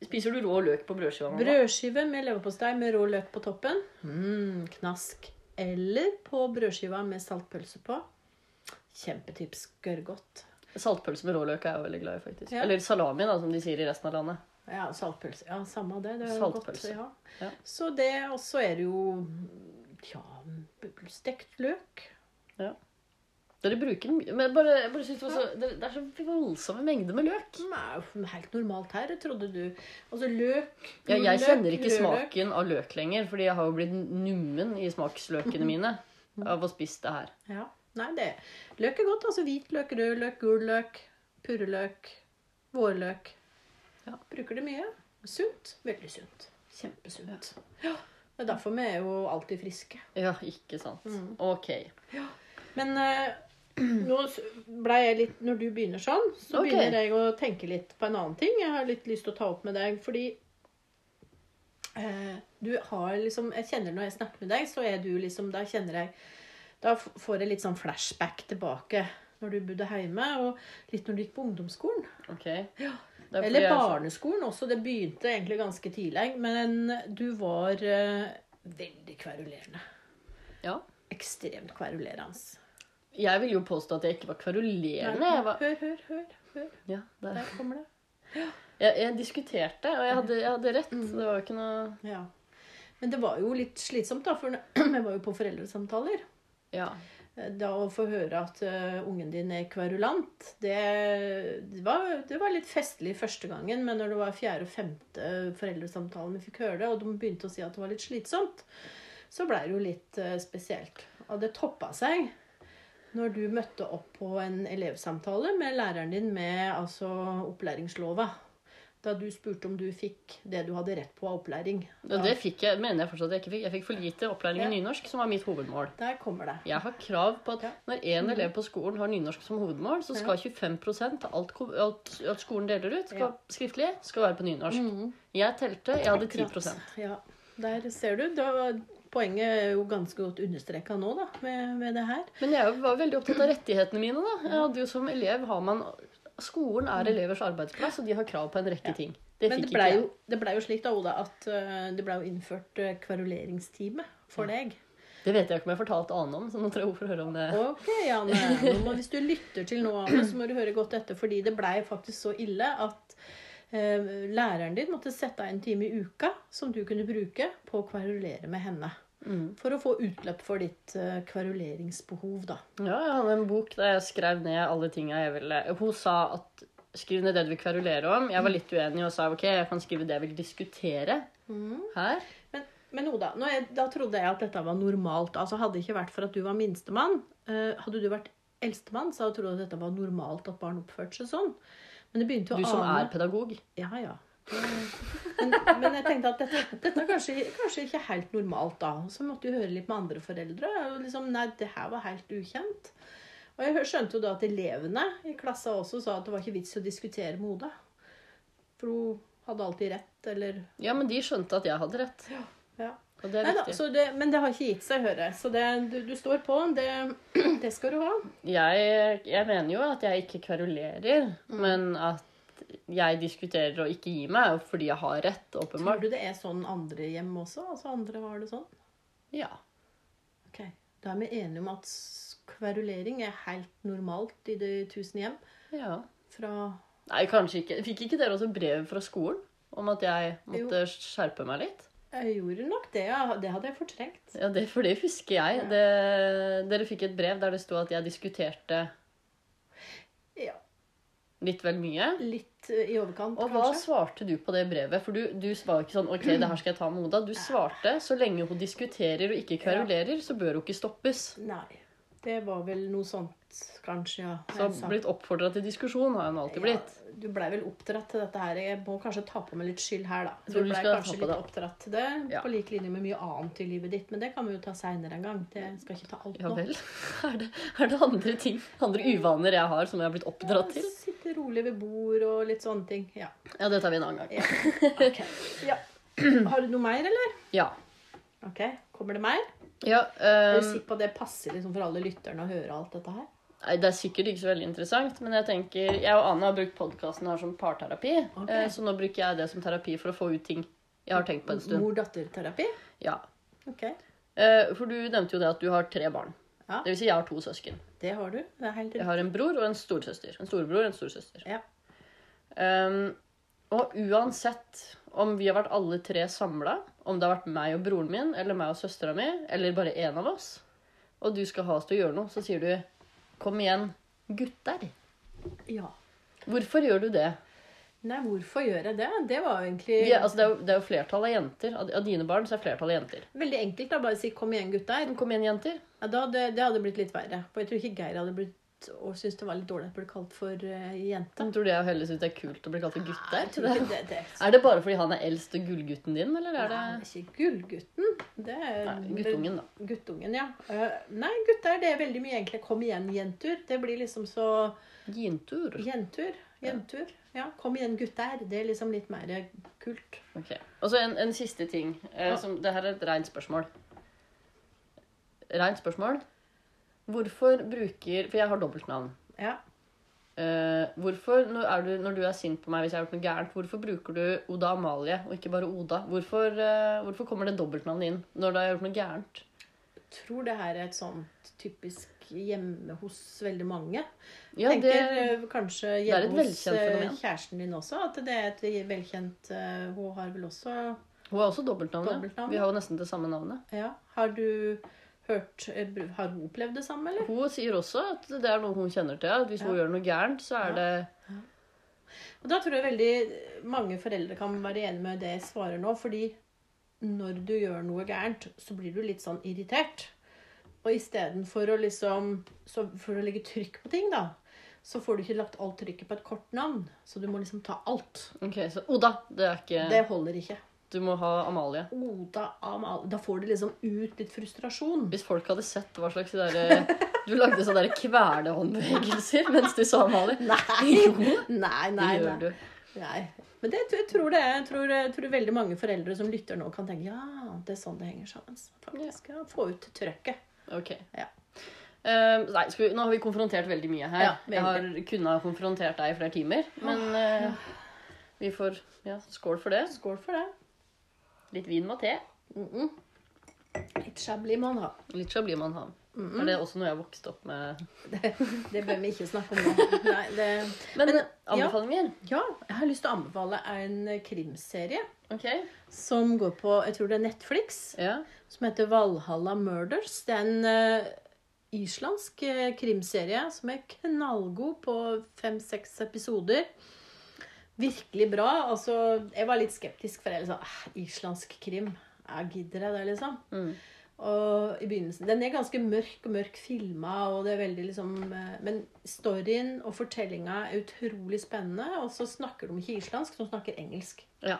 Speaker 1: spiser du rå løk på brødskiva? mamma?
Speaker 2: Brødskive med leverpostei med rå løk på toppen. Mm, knask. Eller på brødskiva med saltpølse på. Kjempetips. Gørrgodt.
Speaker 1: Saltpølse med rå løk er jeg veldig glad i, faktisk.
Speaker 2: Ja.
Speaker 1: Eller salami, da, som de sier i resten av landet.
Speaker 2: Ja, saltpølse. Ja, samme av det. det er
Speaker 1: Saltpølse.
Speaker 2: Godt, ja.
Speaker 1: Ja.
Speaker 2: Så det, og så er det jo ja, stekt løk.
Speaker 1: Dere bruker mye Men bare, jeg bare synes det, var så, det, det er så voldsomme mengder med løk.
Speaker 2: Som er jo helt normalt her, trodde du. Altså løk
Speaker 1: Jeg, jeg
Speaker 2: gulløk,
Speaker 1: kjenner ikke
Speaker 2: rødløk.
Speaker 1: smaken av løk lenger, fordi jeg har jo blitt nummen i smaksløkene mine av å spise det her.
Speaker 2: Ja. Nei, det Løk er godt. Altså hvitløk, rødløk, gul løk, purreløk, vårløk.
Speaker 1: Ja.
Speaker 2: Bruker det mye. Sunt. Veldig sunt. Kjempesunt. Ja. Det er derfor vi er jo alltid friske.
Speaker 1: Ja, ikke sant.
Speaker 2: Mm.
Speaker 1: Ok.
Speaker 2: Men eh, (clears throat) nå s- ble jeg litt Når du begynner sånn, så
Speaker 1: Ok.
Speaker 2: begynner jeg å tenke litt på en annen ting. Jeg har litt lyst til å ta opp med deg, fordi eh, du har liksom Jeg kjenner når jeg snakker med deg, så er du liksom Da kjenner jeg Da f- får jeg litt sånn flashback tilbake. Når du bodde hjemme, og litt når du gikk på ungdomsskolen.
Speaker 1: ok. Det er fordi
Speaker 2: Eller
Speaker 1: jeg er så-
Speaker 2: barneskolen også. Det begynte egentlig ganske tidlig. Men du var eh, veldig kverulerende.
Speaker 1: Ja.
Speaker 2: Ekstremt kverulerende.
Speaker 1: Jeg vil jo påstå at jeg ikke var kverulerende. Jeg, var,
Speaker 2: Hør, hør, hør. hør.
Speaker 1: ja, der.
Speaker 2: Der kommer det.
Speaker 1: jeg, jeg diskuterte, og jeg hadde, jeg hadde rett. Det var ikke noe
Speaker 2: Ja. Men det var jo litt slitsomt, da, for (clears throat) jeg var jo på foreldresamtaler.
Speaker 1: Ja.
Speaker 2: Eh, Da å få høre at eh, ungen din er kverulant, det, det, var, det var litt festlig første gangen, men når det var fjerde og femte foreldresamtalen vi fikk høre det, og de begynte å si at det var litt slitsomt, så blei det jo litt eh, spesielt. Og det toppa seg når du møtte opp på en elevsamtale med læreren din med altså opplæringslova. da du spurte om du fikk det du hadde rett på av opplæring.
Speaker 1: Og det fikk jeg, mener jeg fortsatt at jeg ikke fikk. Jeg fikk for lite opplæring
Speaker 2: Ja.
Speaker 1: i nynorsk, som var mitt hovedmål.
Speaker 2: Der kommer det.
Speaker 1: Jeg har krav på at
Speaker 2: Ja. Mhm.
Speaker 1: når én elev på skolen har nynorsk som hovedmål, så skal 25 av alt, ko- alt, alt skolen deler ut, skal,
Speaker 2: Ja. Mhm.
Speaker 1: skriftlig, skal være på nynorsk. Jeg telte, jeg hadde 10
Speaker 2: Ja, der ser du. Da, poenget er jo ganske godt understreka nå, da, med, med det her.
Speaker 1: Men jeg var veldig opptatt
Speaker 2: (clears throat)
Speaker 1: av rettighetene mine, da. Jeg hadde jo som elev har man Skolen er elevers arbeidsplass, og de har krav på en rekke
Speaker 2: Mhm. Ja.
Speaker 1: ting. Det
Speaker 2: Men
Speaker 1: fikk
Speaker 2: det
Speaker 1: ikke
Speaker 2: blei
Speaker 1: jeg.
Speaker 2: jo, det ble jo slik da, Oda, at eh, det blei jo innført eh, kveruleringstime for deg.
Speaker 1: Det vet jeg ikke om jeg fortalte Ane om, så nå tror jeg hun får høre om det.
Speaker 2: Ok, Janne. Nå må, hvis du lytter til noe av det, så må du høre godt etter, fordi det blei faktisk så ille at eh, læreren din måtte sette av en time i uka som du kunne bruke på å kverulere med henne.
Speaker 1: Mm.
Speaker 2: For å få utløp for ditt eh, kveruleringsbehov, da.
Speaker 1: Ja, jeg hadde en bok der jeg skrev ned alle tinga jeg ville Hun sa at skriv ned det du vil kverulere om. Jeg var litt uenig og sa ok, jeg kan skrive det jeg vil diskutere her.
Speaker 2: Men, men Oda, nå er, da trodde jeg at dette var normalt. Altså Hadde det ikke vært for at du var minstemann, eh, hadde du vært eldstemann, så hadde jeg trodd at dette var normalt at barn oppførte seg sånn. Men det begynte
Speaker 1: Du
Speaker 2: å
Speaker 1: som
Speaker 2: ane
Speaker 1: er pedagog.
Speaker 2: Ja, ja. Men, men jeg tenkte at dette, dette er kanskje, kanskje ikke helt normalt, da. Så måtte jeg høre litt med andre foreldre. Og liksom, nei, det her var helt ukjent. Og jeg hør- skjønte jo da at elevene i klassa også sa at det var ikke vits å diskutere med Oda. For hun hadde alltid rett, eller
Speaker 1: Ja, men de skjønte at jeg hadde rett.
Speaker 2: ja.
Speaker 1: Og det er
Speaker 2: Neida,
Speaker 1: viktig.
Speaker 2: så det, men det har ikke gitt seg, hører jeg. Så det, du, du står på. Det, det (clears throat) skal du ha.
Speaker 1: Mm. Jeg, jeg mener jo at jeg ikke kverulerer, men at jeg diskuterer og ikke gir meg fordi jeg har rett,
Speaker 2: Tror
Speaker 1: åpenbart.
Speaker 2: du det er sånn andre hjem også? Altså andre har det sånn?
Speaker 1: Ja.
Speaker 2: Ok. Da er vi enige om at s- kverulering er helt normalt i de tusen hjem.
Speaker 1: ja.
Speaker 2: Fra
Speaker 1: Nei, kanskje ikke. Fikk ikke dere også brev fra skolen om at jeg måtte skjerpe meg litt?
Speaker 2: Jeg gjorde nok det, ja. Det hadde jeg fortrengt.
Speaker 1: Ja, det, for det husker jeg.
Speaker 2: Ja.
Speaker 1: Det, dere fikk et brev der det sto at jeg diskuterte
Speaker 2: Ja,
Speaker 1: litt vel mye.
Speaker 2: litt eh, i overkant,
Speaker 1: Og hva
Speaker 2: kanskje.
Speaker 1: svarte du på det brevet? For du, du var ikke sånn OK, det her skal jeg ta med Oda. Du svarte så lenge hun diskuterer og ikke kverulerer, så bør hun ikke stoppes.
Speaker 2: Nei. Det var vel noe sånt, kanskje, ja.
Speaker 1: Så
Speaker 2: Jeg sa-
Speaker 1: blitt oppfordra til diskusjon har hun alltid blitt.
Speaker 2: Ja, du blei vel oppdratt til dette her. Jeg må kanskje ta på meg litt skyld her, da. Du
Speaker 1: Tror du
Speaker 2: blei
Speaker 1: skal ta
Speaker 2: kanskje
Speaker 1: på
Speaker 2: litt
Speaker 1: deg.
Speaker 2: oppdratt til det,
Speaker 1: Ja.
Speaker 2: på lik linje med mye annet i livet ditt. Men det kan vi jo ta seinere en gang. Det skal ikke ta alt
Speaker 1: Ja
Speaker 2: nå.
Speaker 1: vel. (laughs) Er det, er det andre ting, andre uvaner jeg har som jeg har blitt oppdratt til?
Speaker 2: Sitte rolig ved bord og litt sånne ting.
Speaker 1: (laughs)
Speaker 2: Ja.
Speaker 1: Ja, det tar vi en annen gang.
Speaker 2: ja. Ok. ja. Har du noe mer, eller?
Speaker 1: Ja.
Speaker 2: Ok, Kommer det mer?
Speaker 1: ja ehm,
Speaker 2: Er
Speaker 1: øhm,
Speaker 2: du sikker på at det passer liksom for alle lytterne å høre alt dette her?
Speaker 1: Nei, Det er sikkert ikke så veldig interessant, men jeg tenker, jeg og Anne har brukt podkasten her som parterapi.
Speaker 2: Ok.
Speaker 1: eh, Så nå bruker jeg det som terapi for å få ut ting jeg har tenkt på en stund.
Speaker 2: Mor-datter-terapi?
Speaker 1: Ja.
Speaker 2: Ok,
Speaker 1: Eh, For du nevnte jo det at du har tre barn.
Speaker 2: Ja.
Speaker 1: Det vil si jeg har to søsken.
Speaker 2: det har du. Det er helt
Speaker 1: Jeg
Speaker 2: riktig.
Speaker 1: har en bror og en storesøster. En storebror og en storesøster.
Speaker 2: Ja.
Speaker 1: Um, og uansett om vi har vært alle tre samla, om det har vært meg og broren min, eller meg og søstera mi, eller bare én av oss, og du skal ha oss til å gjøre noe, så sier du 'kom igjen, gutter'.
Speaker 2: Ja.
Speaker 1: Hvorfor gjør du det?
Speaker 2: Nei, hvorfor gjør jeg det? Det var jo egentlig
Speaker 1: Vi er, altså, det, er jo, det er jo flertall av jenter. Av, av dine barn så er flertallet jenter.
Speaker 2: veldig enkelt. da, Bare si 'kom igjen, gutter'.
Speaker 1: Kom igjen, jenter.
Speaker 2: Ja, da, det, det hadde blitt litt verre. For jeg tror ikke Geir hadde blitt og syntes det var litt dårlig at det ble kalt for eh, jente.
Speaker 1: Jeg tror det jeg heller syns det er kult å bli kalt for
Speaker 2: Jeg
Speaker 1: gutter.
Speaker 2: tror ikke det, det.
Speaker 1: Er det bare fordi han er eldst og gullgutten din, eller er det
Speaker 2: Nei, ikke gullgutten. Det er
Speaker 1: Nei, guttungen, da?
Speaker 2: Guttungen, ja. Eh, nei, gutter, det er veldig mye egentlig 'kom igjen, jentur'. Det blir liksom så
Speaker 1: Jintur.
Speaker 2: Jentur. Jentur. Ja, 'kom igjen, gutter'. Det er liksom litt mer kult.
Speaker 1: Ok. Og så en, en siste ting. Eh, som, det her er et rent spørsmål. Rent spørsmål. Hvorfor bruker For jeg har dobbeltnavn.
Speaker 2: Ja.
Speaker 1: Eh, hvorfor, når, er du, når du er sint på meg hvis jeg har gjort noe gærent, hvorfor bruker du Oda Amalie og ikke bare Oda? Hvorfor, eh, hvorfor kommer det dobbeltnavnet inn når du har gjort noe gærent?
Speaker 2: tror det her er et sånt typisk hjemme hos veldig mange.
Speaker 1: Ja, det,
Speaker 2: Tenker eh, kanskje
Speaker 1: det er et
Speaker 2: hjemme hos
Speaker 1: velkjent
Speaker 2: eh,
Speaker 1: fenomen.
Speaker 2: kjæresten din også, at det er et velkjent eh, Hun har vel også
Speaker 1: hun har også dobbeltnavn. ja.
Speaker 2: Dobbeltnavn.
Speaker 1: Vi har jo nesten det samme navnet.
Speaker 2: Ja. Har du hørt eh, br- Har hun opplevd det samme, eller?
Speaker 1: Hun sier også at det er noe hun kjenner til. At hvis hun
Speaker 2: Ja.
Speaker 1: gjør noe gærent, så er
Speaker 2: Ja.
Speaker 1: det
Speaker 2: Og da tror jeg veldig mange foreldre kan være enig med det jeg svarer nå, fordi når du gjør noe gærent, så blir du litt sånn irritert. Og istedenfor å liksom så For å legge trykk på ting, da, så får du ikke lagt alt trykket på et kort navn. Så du må liksom ta alt.
Speaker 1: Ok, så Oda, det er ikke
Speaker 2: Det holder ikke.
Speaker 1: Du må ha Amalie.
Speaker 2: Oda Amal. Da får du liksom ut litt frustrasjon.
Speaker 1: Hvis folk hadde sett hva slags der, eh, Du lagde sånne der kvelerhåndbevegelser mens du sa Amalie.
Speaker 2: (laughs) Nei!
Speaker 1: Jo,
Speaker 2: Nei,
Speaker 1: det
Speaker 2: nei,
Speaker 1: gjør
Speaker 2: nei.
Speaker 1: du.
Speaker 2: nei. Men det, jeg tror det er- jeg tror, jeg tror veldig mange foreldre som lytter nå, kan tenke ja, det er sånn det henger sammen. Faktisk, ja. Få ut trøkket.
Speaker 1: Ok.
Speaker 2: Ja.
Speaker 1: Eh, nei, skal vi, nå har vi konfrontert veldig mye her.
Speaker 2: Ja,
Speaker 1: Jeg har, kunne ha konfrontert deg i flere timer, men eh, vi får ja, skål for det.
Speaker 2: Skål for det.
Speaker 1: Litt vin må til.
Speaker 2: Mm -mm. Litt chablis må man ha.
Speaker 1: Litt så blir man ham. For det er også noe jeg vokste opp med.
Speaker 2: (laughs) Det, det bør vi ikke snakke om nå. Nei, det,
Speaker 1: Men,
Speaker 2: Men,
Speaker 1: anbefalinger?
Speaker 2: ja, jeg har lyst til å anbefale en krimserie
Speaker 1: Ok.
Speaker 2: som går på jeg tror det er Netflix.
Speaker 1: Ja.
Speaker 2: som heter Valhalla Murders. Det er en eh, islandsk eh, krimserie som er knallgod på fem-seks episoder. Virkelig bra. Altså, jeg var litt skeptisk, for jeg liksom, «Æh, islandsk krim, jeg gidder jeg det, liksom?
Speaker 1: Mm.
Speaker 2: Og i begynnelsen, Den er ganske mørk og mørk filma, og det er veldig liksom eh, Men storyen og fortellinga er utrolig spennende. Og så snakker de ikke islandsk, de snakker engelsk.
Speaker 1: ja.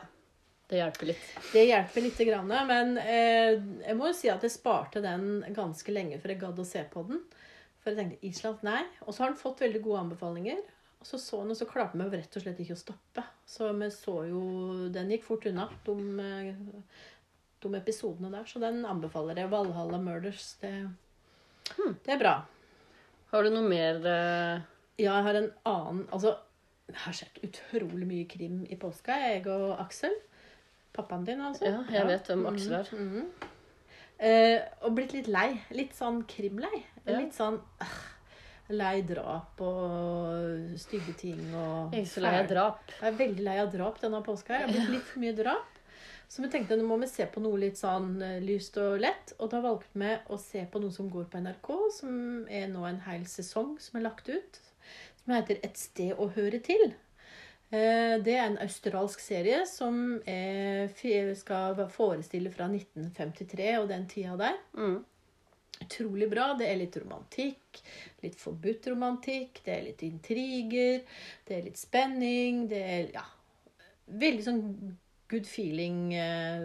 Speaker 1: Det hjelper litt.
Speaker 2: Det hjelper lite grann, men eh, jeg må jo si at jeg sparte den ganske lenge før jeg gadd å se på den. For jeg tenkte Island, nei. Og så har den fått veldig gode anbefalinger. Og så så den, og så klarte vi rett og slett ikke å stoppe. Så vi så jo Den gikk fort unna, de, eh, de episodene der. Så den anbefaler jeg. Valhalla Murders. Det,
Speaker 1: Hmm.
Speaker 2: det er bra.
Speaker 1: Har du noe mer eh,
Speaker 2: Ja, jeg har en annen Altså, jeg har sett utrolig mye krim i påska, jeg og Aksel. Pappaen din, altså.
Speaker 1: Ja, jeg vet hvem Aksel er.
Speaker 2: Mhm. Eh, og blitt litt lei. Litt sånn krimlei.
Speaker 1: Ja.
Speaker 2: Litt sånn ah, lei drap og stygge ting og
Speaker 1: Jeg er så lei av drap.
Speaker 2: Jeg er veldig lei av drap denne påska. her. Jeg har blitt litt for mye drap. Så vi tenkte nå må vi se på noe litt sånn eh, lyst og lett. Og da valgte vi å se på noe som går på NRK, som er nå en hel sesong som er lagt ut. Som heter 'Et sted å høre til'. Eh, Det er en australsk serie som er, fi- skal forestille fra 1953 og den tida der.
Speaker 1: Mm.
Speaker 2: Utrolig bra. Det er litt romantikk, litt forbudt romantikk, det er litt intriger, det er litt spenning, det er ja, veldig sånn good feeling eh,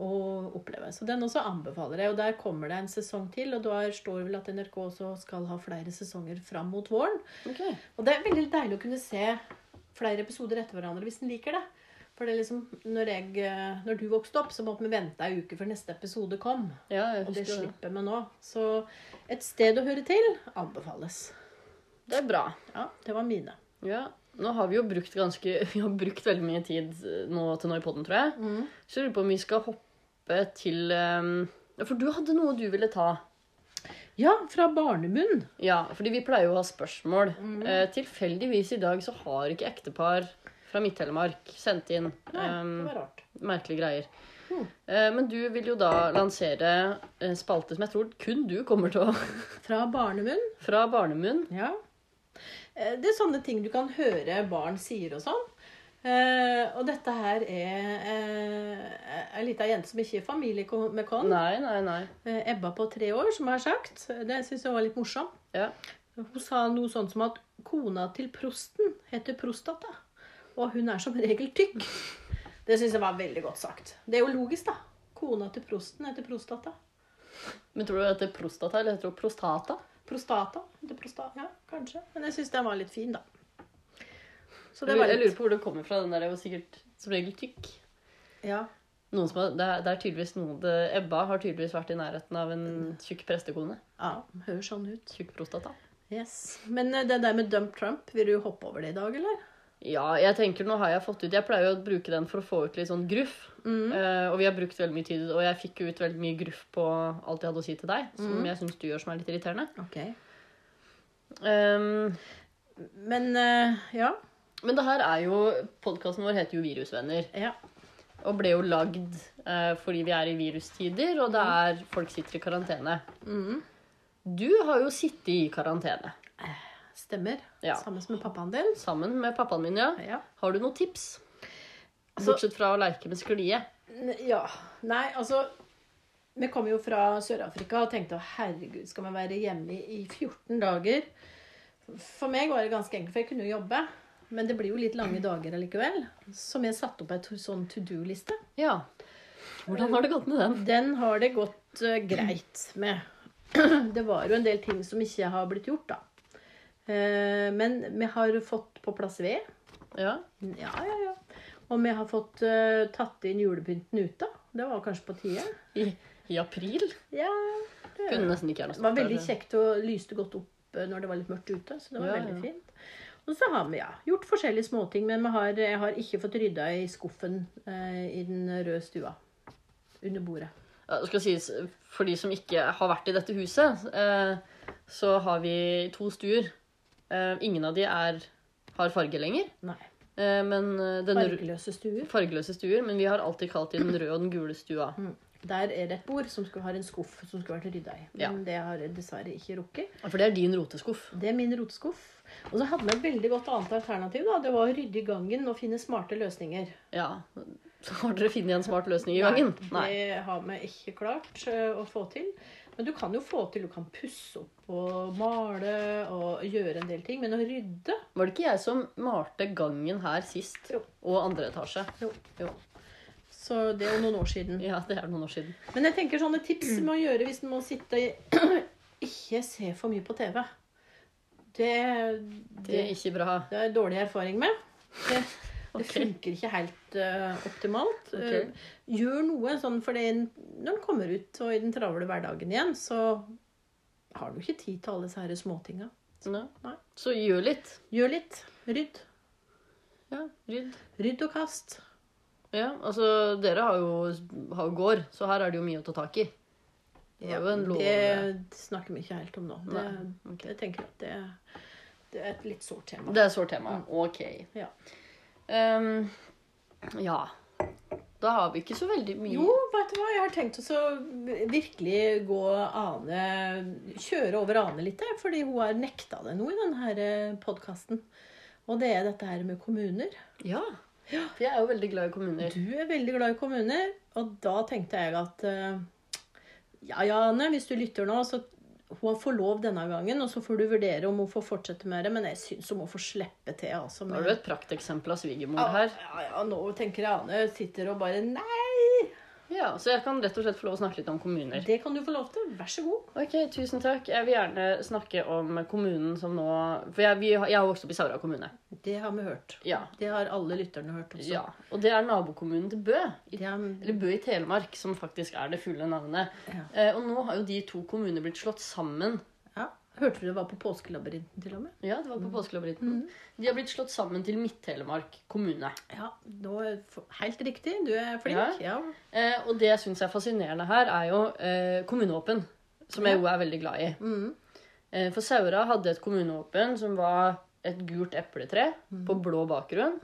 Speaker 2: å oppleve. Så den også anbefaler jeg. Og der kommer det en sesong til, og da står vel at NRK også skal ha flere sesonger fram mot våren.
Speaker 1: Ok.
Speaker 2: Og det er veldig deilig å kunne se flere episoder etter hverandre hvis en liker det. For det er liksom, når, jeg, eh, når du vokste opp, så måtte vi vente ei uke før neste episode kom.
Speaker 1: Ja, jeg
Speaker 2: Og det
Speaker 1: husker det.
Speaker 2: slipper vi nå. Så et sted å høre til anbefales.
Speaker 1: Det er bra.
Speaker 2: Ja, det var mine.
Speaker 1: Ja. Nå har vi jo brukt ganske (laughs) Vi har brukt veldig mye tid eh, nå til nå i podden, tror jeg.
Speaker 2: Mm.
Speaker 1: Så jeg lurer på om vi skal hoppe til eh, ja, For du hadde noe du ville ta.
Speaker 2: Ja, fra barnemunn.
Speaker 1: Ja, fordi vi pleier jo å ha spørsmål.
Speaker 2: Mm.
Speaker 1: Eh, tilfeldigvis i dag så har ikke ektepar fra Midt-Telemark sendt inn
Speaker 2: Nei,
Speaker 1: eh,
Speaker 2: det var rart.
Speaker 1: merkelige greier.
Speaker 2: Mm.
Speaker 1: Eh, men du vil jo da lansere en spalte som jeg tror kun du kommer til å (laughs)
Speaker 2: Fra barnemunn.
Speaker 1: Fra barnemunn.
Speaker 2: Ja. Eh, Det er sånne ting du kan høre barn sier og sånn. Eh, og dette her er eh, ei lita jente som ikke er familie med kon.
Speaker 1: Nei, nei, nei.
Speaker 2: Eh, Ebba på tre år, som har sagt. Det syns jeg var litt morsomt.
Speaker 1: Ja.
Speaker 2: Hun sa noe sånn som at kona til prosten heter prostata. Og hun er som regel tykk. Det syns jeg var veldig godt sagt. Det er jo logisk, da. Kona til prosten heter prostata.
Speaker 1: Men tror du det heter prostata, eller heter det prostata?
Speaker 2: Prostata heter prostata, ja, kanskje. Men jeg syns den var litt fin, da. Så det
Speaker 1: Jeg
Speaker 2: var
Speaker 1: lurer jeg lurer
Speaker 2: litt
Speaker 1: på hvor det kommer fra. Den der er jo sikkert som regel tykk.
Speaker 2: ja.
Speaker 1: Noen som har, det, er, det er tydeligvis noen det, Ebba har tydeligvis vært i nærheten av en tjukk prestekone.
Speaker 2: ja, hører sånn ut.
Speaker 1: Tjukk prostata.
Speaker 2: Yes. Men eh, det der med dump Trump, vil du hoppe over det i dag, eller?
Speaker 1: Ja, jeg tenker nå har jeg fått ut Jeg pleier jo å bruke den for å få ut litt sånn gruff.
Speaker 2: Mm.
Speaker 1: Eh, og vi har brukt veldig mye tid, og jeg fikk jo ut veldig mye gruff på alt jeg hadde å si til deg. Som jeg syns du gjør som er litt irriterende.
Speaker 2: Ok.
Speaker 1: Ehm,
Speaker 2: Men eh, ja.
Speaker 1: men det her er jo Podkasten vår heter jo Virusvenner.
Speaker 2: Ja.
Speaker 1: Og ble jo lagd eh, fordi vi er i virustider, og det er folk sitter i karantene.
Speaker 2: Mm.
Speaker 1: Du har jo sittet i karantene
Speaker 2: Stemmer.
Speaker 1: Ja.
Speaker 2: Samme som med pappaen din.
Speaker 1: sammen med pappaen min, ja.
Speaker 2: Ja.
Speaker 1: Har du noen tips?
Speaker 2: Altså-
Speaker 1: Bortsett fra å leke med sklie.
Speaker 2: N- Ja. Nei, altså Vi kom jo fra Sør-Afrika og tenkte å herregud, skal man være hjemme i 14 dager? For meg var det ganske enkelt, for jeg kunne jo jobbe. Men det blir jo litt lange dager allikevel. Så vi satte opp ei to- sånn to do-liste.
Speaker 1: Ja. Hvordan har det gått med den?
Speaker 2: Den har det gått eh, greit med. (clears throat) det var jo en del ting som ikke har blitt gjort, da. Eh, men vi har fått på plass ved.
Speaker 1: Ja.
Speaker 2: Ja, ja, ja. Og vi har fått eh, tatt inn julepynten ute. Det var kanskje på tide.
Speaker 1: I, i april?
Speaker 2: Ja, det
Speaker 1: Kunne nesten ikke gjerne
Speaker 2: Det var veldig
Speaker 1: der.
Speaker 2: kjekt og lyste godt opp eh, når det var litt mørkt ute. Så det var
Speaker 1: Ja,
Speaker 2: veldig
Speaker 1: ja.
Speaker 2: fint. Og så har vi ja, gjort forskjellige småting, men vi har, jeg har ikke fått rydda i skuffen eh, i den røde stua. Under bordet.
Speaker 1: Ja, det skal sies, For de som ikke har vært i dette huset, eh, så har vi to stuer. Eh, ingen av de er, har farge lenger.
Speaker 2: Nei.
Speaker 1: Eh, men eh, den rø-
Speaker 2: Fargeløse stuer.
Speaker 1: fargeløse stuer, men vi har alltid kalt de den røde og den gule stua.
Speaker 2: Der er det et bord som skulle ha en skuff som skulle vært rydda i. Men
Speaker 1: Ja.
Speaker 2: det har jeg dessverre ikke rukket.
Speaker 1: For det er din roteskuff.
Speaker 2: Det er min roteskuff. Og så hadde vi et veldig godt annet alternativ. da. Det var å rydde i gangen og finne smarte løsninger.
Speaker 1: Ja. Så har dere funnet en smart løsning i gangen? Nei.
Speaker 2: Det har vi ikke klart eh, å få til. Men du kan jo få til. Du kan pusse opp og male og gjøre en del ting. Men å rydde
Speaker 1: Var det ikke jeg som malte gangen her sist?
Speaker 2: Jo.
Speaker 1: Og andre etasje?
Speaker 2: Jo. Så det er jo noen år siden.
Speaker 1: Ja, det er noen år siden.
Speaker 2: Men jeg tenker sånne tips med å gjøre hvis en må sitte i Ikke se for mye på TV. Det,
Speaker 1: Det er ikke bra.
Speaker 2: Det har jeg dårlig erfaring med. Det, det
Speaker 1: Ok.
Speaker 2: funker ikke helt eh, optimalt.
Speaker 1: Ok.
Speaker 2: Eh, gjør noe sånn, for det er en- når en kommer ut og i den travle hverdagen igjen, så har du ikke tid til alle disse her småtinga.
Speaker 1: Nå.
Speaker 2: Nei.
Speaker 1: Så gjør litt.
Speaker 2: Gjør litt. Rydd.
Speaker 1: Ja, rydd.
Speaker 2: Rydd og kast.
Speaker 1: Ja, altså dere har jo, har jo gård, så her er det jo mye å ta tak i. Det er jo en lov.
Speaker 2: det snakker vi ikke helt om nå. Det,
Speaker 1: Nei, ok.
Speaker 2: Jeg tenker at det, det er et litt sårt tema.
Speaker 1: Det er sårt tema. Ok.
Speaker 2: Mm. Ja.
Speaker 1: Ehm, ja. Da har vi ikke så veldig mye
Speaker 2: Jo, vet du hva, jeg har tenkt å så virkelig gå Ane Kjøre over Ane litt, jeg, fordi hun har nekta det noe i denne podkasten. Og det er dette her med kommuner.
Speaker 1: Ja. For jeg er jo veldig glad i kommuner.
Speaker 2: Du er veldig glad i kommuner, og da tenkte jeg at eh, Ja ja, Ane, hvis du lytter nå, så hun får lov denne gangen, og så får du vurdere om hun får fortsette med det, men jeg syns hun må få slippe til. altså.
Speaker 1: Da har du et prakteksempel av svigermor
Speaker 2: ja,
Speaker 1: her.
Speaker 2: ja, ja, nå tenker jeg Ane sitter og bare Nei!
Speaker 1: Ja, Så jeg kan rett og slett få lov å snakke litt om kommuner.
Speaker 2: Det kan du få lov til. Vær så god.
Speaker 1: Ok, tusen takk. Jeg vil gjerne snakke om kommunen som nå For jeg, vi, har- jeg har vokst opp i Saura kommune.
Speaker 2: Det har vi hørt.
Speaker 1: Ja.
Speaker 2: Det har alle lytterne hørt også.
Speaker 1: ja. Og det er nabokommunen til Bø. I
Speaker 2: Det er,
Speaker 1: eller Bø i Telemark, som faktisk er det fulle navnet.
Speaker 2: Ja.
Speaker 1: Eh, og nå har jo de to kommunene blitt slått sammen.
Speaker 2: ja. Hørte du det var på Påskelabyrinten til og med?
Speaker 1: Ja, det var på Påskelabyrinten.
Speaker 2: Mm.
Speaker 1: De har blitt slått sammen til Midt-Telemark kommune.
Speaker 2: Ja, nå, er f- Helt riktig, du er
Speaker 1: Ja.
Speaker 2: flink. Ja.
Speaker 1: Eh, og det jeg syns er fascinerende her, er jo eh, kommunevåpen, som jeg jo er veldig glad i.
Speaker 2: Mm.
Speaker 1: Eh, For Saura hadde et kommunevåpen som var et gult epletre
Speaker 2: Mm.
Speaker 1: på blå bakgrunn.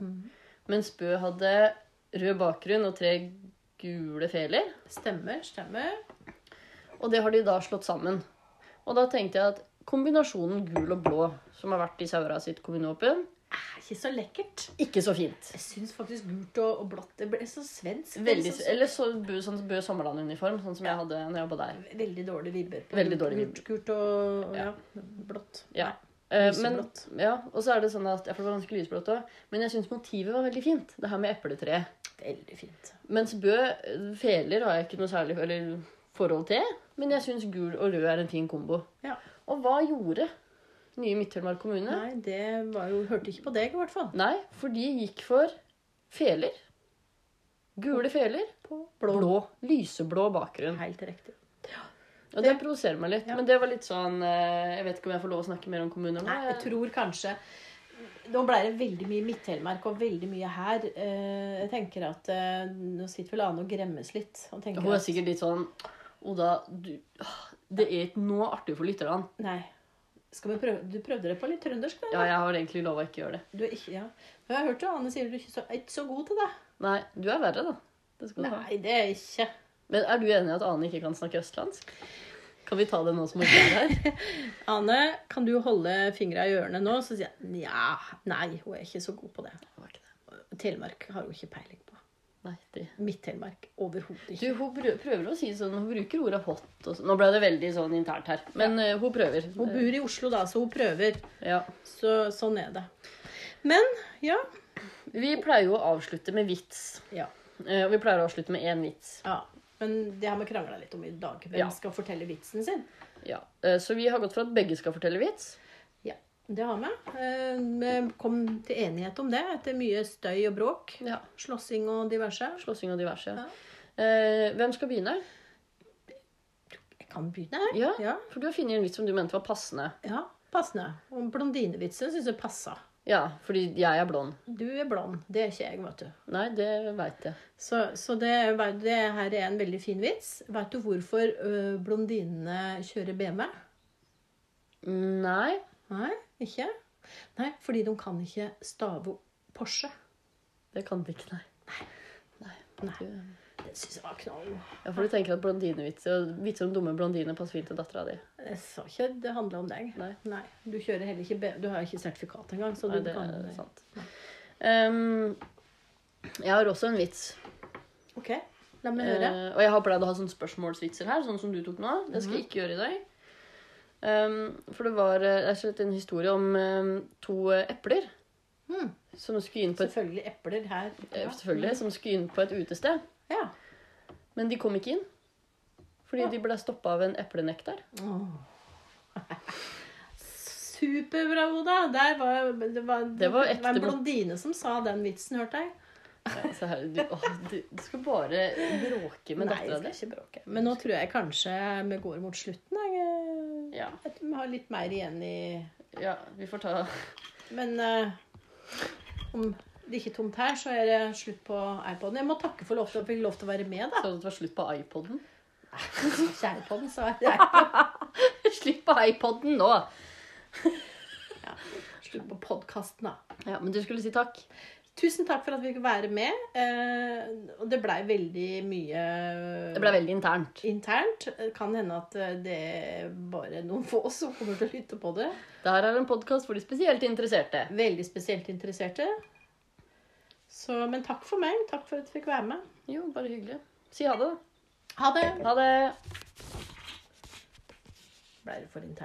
Speaker 1: Mens Bø hadde rød bakgrunn og tre gule feler.
Speaker 2: Stemmer, stemmer.
Speaker 1: Og det har de da slått sammen. Og da tenkte jeg at kombinasjonen gul og blå, som har vært i Saura sitt kommunevåpen,
Speaker 2: Er ikke så lekkert.
Speaker 1: ikke så fint.
Speaker 2: Jeg syns faktisk gult og, og blått Det ble så svensk.
Speaker 1: Veldig,
Speaker 2: Det liksom ble
Speaker 1: eller så Bø, sånn Bø Sommerland-uniform, sånn som jeg hadde når jeg jobba der.
Speaker 2: så, veldig dårlig vibber. på
Speaker 1: Veldig
Speaker 2: gult-
Speaker 1: dårlig
Speaker 2: gult, gult og, og ja. blått.
Speaker 1: Ja. Eh, men,
Speaker 2: Lyseblått.
Speaker 1: ja, og så er det sånn at jeg får ganske lysblått også, men jeg syns motivet var veldig fint. Det her med epletreet.
Speaker 2: Veldig fint.
Speaker 1: Mens Bø eh, feler har jeg ikke noe særlig eller, forhold til, men jeg syns gul og rød er en fin kombo.
Speaker 2: Ja.
Speaker 1: Og hva gjorde nye Midt-Telemark kommune?
Speaker 2: Nei, det var jo Hørte ikke på deg, i hvert fall.
Speaker 1: Nei, for de gikk for feler. Gule feler på blå, lyseblå bakgrunn.
Speaker 2: Helt riktig.
Speaker 1: Og det provoserer meg litt.
Speaker 2: Ja.
Speaker 1: Men det var litt sånn eh, Jeg vet ikke om jeg får lov å snakke mer om kommunen.
Speaker 2: Nei, jeg tror kanskje Nå ble det veldig mye Midt-Telemark og veldig mye her. Eh, Jeg tenker at eh, Nå sitter vel Ane og gremmes litt. Og tenker
Speaker 1: Hun er
Speaker 2: at-
Speaker 1: sikkert litt sånn Oda, du, ah, det er ikke noe artig for lytterne.
Speaker 2: Nei. Skal vi prøve? Du prøvde deg på litt trøndersk, da?
Speaker 1: Ja, jeg har egentlig lova ikke gjøre det.
Speaker 2: Du er ikke, ja. Men jeg har hørt jo Ane sier du er ikke så, er ikke så god til det.
Speaker 1: Nei, du er verre, da. Det skal du ha.
Speaker 2: Nei, det er jeg ikke.
Speaker 1: Men er du enig i at Ane ikke kan snakke østlandsk? Kan vi ta det nå som hun er
Speaker 2: (laughs)
Speaker 1: her?
Speaker 2: Ane, kan du holde fingra i ørene nå? Så sier jeg nja, nei, hun er ikke så god på det.
Speaker 1: Det var ikke det.
Speaker 2: Telemark har hun ikke peiling på.
Speaker 1: Nei, det
Speaker 2: Midt-Telemark. Overhodet ikke.
Speaker 1: Du, hun prø- prøver å si sånn Hun bruker ordet hot og sånn. Nå ble det veldig sånn internt her, men eh, hun prøver.
Speaker 2: Hun bor i Oslo, da, så hun prøver.
Speaker 1: Ja.
Speaker 2: Så sånn er det. Men ja.
Speaker 1: Vi pleier jo å avslutte med vits.
Speaker 2: ja.
Speaker 1: Eh, Og vi pleier å avslutte med én vits.
Speaker 2: ja. Men det har vi krangla litt om i dag. Hvem
Speaker 1: Ja.
Speaker 2: skal fortelle vitsen sin?
Speaker 1: Ja. eh, Så vi har gått for at begge skal fortelle vits.
Speaker 2: Ja, det har vi. Eh, Vi kom til enighet om det etter mye støy og bråk.
Speaker 1: Ja.
Speaker 2: Slåssing og diverse.
Speaker 1: Slåssing og diverse.
Speaker 2: Ja.
Speaker 1: Eh, Hvem skal begynne?
Speaker 2: Jeg kan begynne her.
Speaker 1: Ja.
Speaker 2: Ja,
Speaker 1: For du har funnet en vits som du mente var passende.
Speaker 2: ja passende. Og blondinevitsen syns jeg passa.
Speaker 1: Ja, fordi jeg er blond.
Speaker 2: Du er blond. Det er ikke jeg, vet du.
Speaker 1: Nei, det veit jeg.
Speaker 2: Så, så det, er- det her er en veldig fin vits. Vet du hvorfor ø, blondinene kjører BMW?
Speaker 1: Nei,
Speaker 2: Nei, ikke? Nei, fordi de kan ikke stave Porsche.
Speaker 1: det kan vi ikke, nei.
Speaker 2: Nei,
Speaker 1: Du-
Speaker 2: det syns jeg var knall.
Speaker 1: Ja, for du tenker at blondinevitser og vitser om dumme blondiner passer fint til dattera di.
Speaker 2: Jeg sa ikke det handla om deg.
Speaker 1: Nei.
Speaker 2: Du kjører heller ikke BMW. Du har ikke sertifikat engang. Så
Speaker 1: Nei,
Speaker 2: du
Speaker 1: det
Speaker 2: kan
Speaker 1: er sant. Ehm, jeg har også en vits.
Speaker 2: Ok, la meg høre.
Speaker 1: Eh, og jeg har pleid å ha sånne spørsmålsvitser her, sånn som du tok nå. Det skal
Speaker 2: Mhm.
Speaker 1: jeg ikke gjøre i dag. Ehm, for det var eh, rett og slett en historie om ehm, to eh, epler
Speaker 2: Mm.
Speaker 1: som skulle inn på et,
Speaker 2: Selvfølgelig epler her.
Speaker 1: eh, selvfølgelig, som skulle inn på et utested.
Speaker 2: Ja.
Speaker 1: Men de kom ikke inn. Fordi de ble stoppa av en
Speaker 2: (laughs)
Speaker 1: eplenekter.
Speaker 2: Åh. Superbra, Oda! Der var, det, var,
Speaker 1: Det var ekte
Speaker 2: en
Speaker 1: bl-
Speaker 2: blondine som sa den vitsen, hørte jeg.
Speaker 1: Ja, se her, du, å, du, du skal bare bråke med
Speaker 2: Nei,
Speaker 1: dattera
Speaker 2: jeg
Speaker 1: di.
Speaker 2: skal ikke bråke. Men nå tror jeg kanskje vi går mot slutten. Jeg,
Speaker 1: Ja,
Speaker 2: jeg tror vi har litt mer igjen i
Speaker 1: ja, vi får ta
Speaker 2: Men eh, om det ikke er tomt her, så er det slutt på iPoden. Jeg må takke for lov til, jeg fikk lov til å være med, da.
Speaker 1: sånn at det var slutt på (laughs) iPoden.
Speaker 2: Kjærepodden, så er det
Speaker 1: Slipp på iPoden nå!
Speaker 2: slutt på podkasten, da.
Speaker 1: Ja, Men du skulle si takk.
Speaker 2: Tusen takk for at vi fikk være med. Eh, og det blei veldig mye
Speaker 1: Det ble veldig internt.
Speaker 2: internt. Eh, Kan hende at eh, det er bare noen få som kommer til å lytte på det.
Speaker 1: Dette er en podkast for de spesielt interesserte.
Speaker 2: Veldig spesielt interesserte. Så, men takk for meg. Takk for at jeg fikk være med.
Speaker 1: Jo, bare hyggelig. Si ha det,
Speaker 2: Ha det!
Speaker 1: da. Ha det.
Speaker 2: Blei det for internt?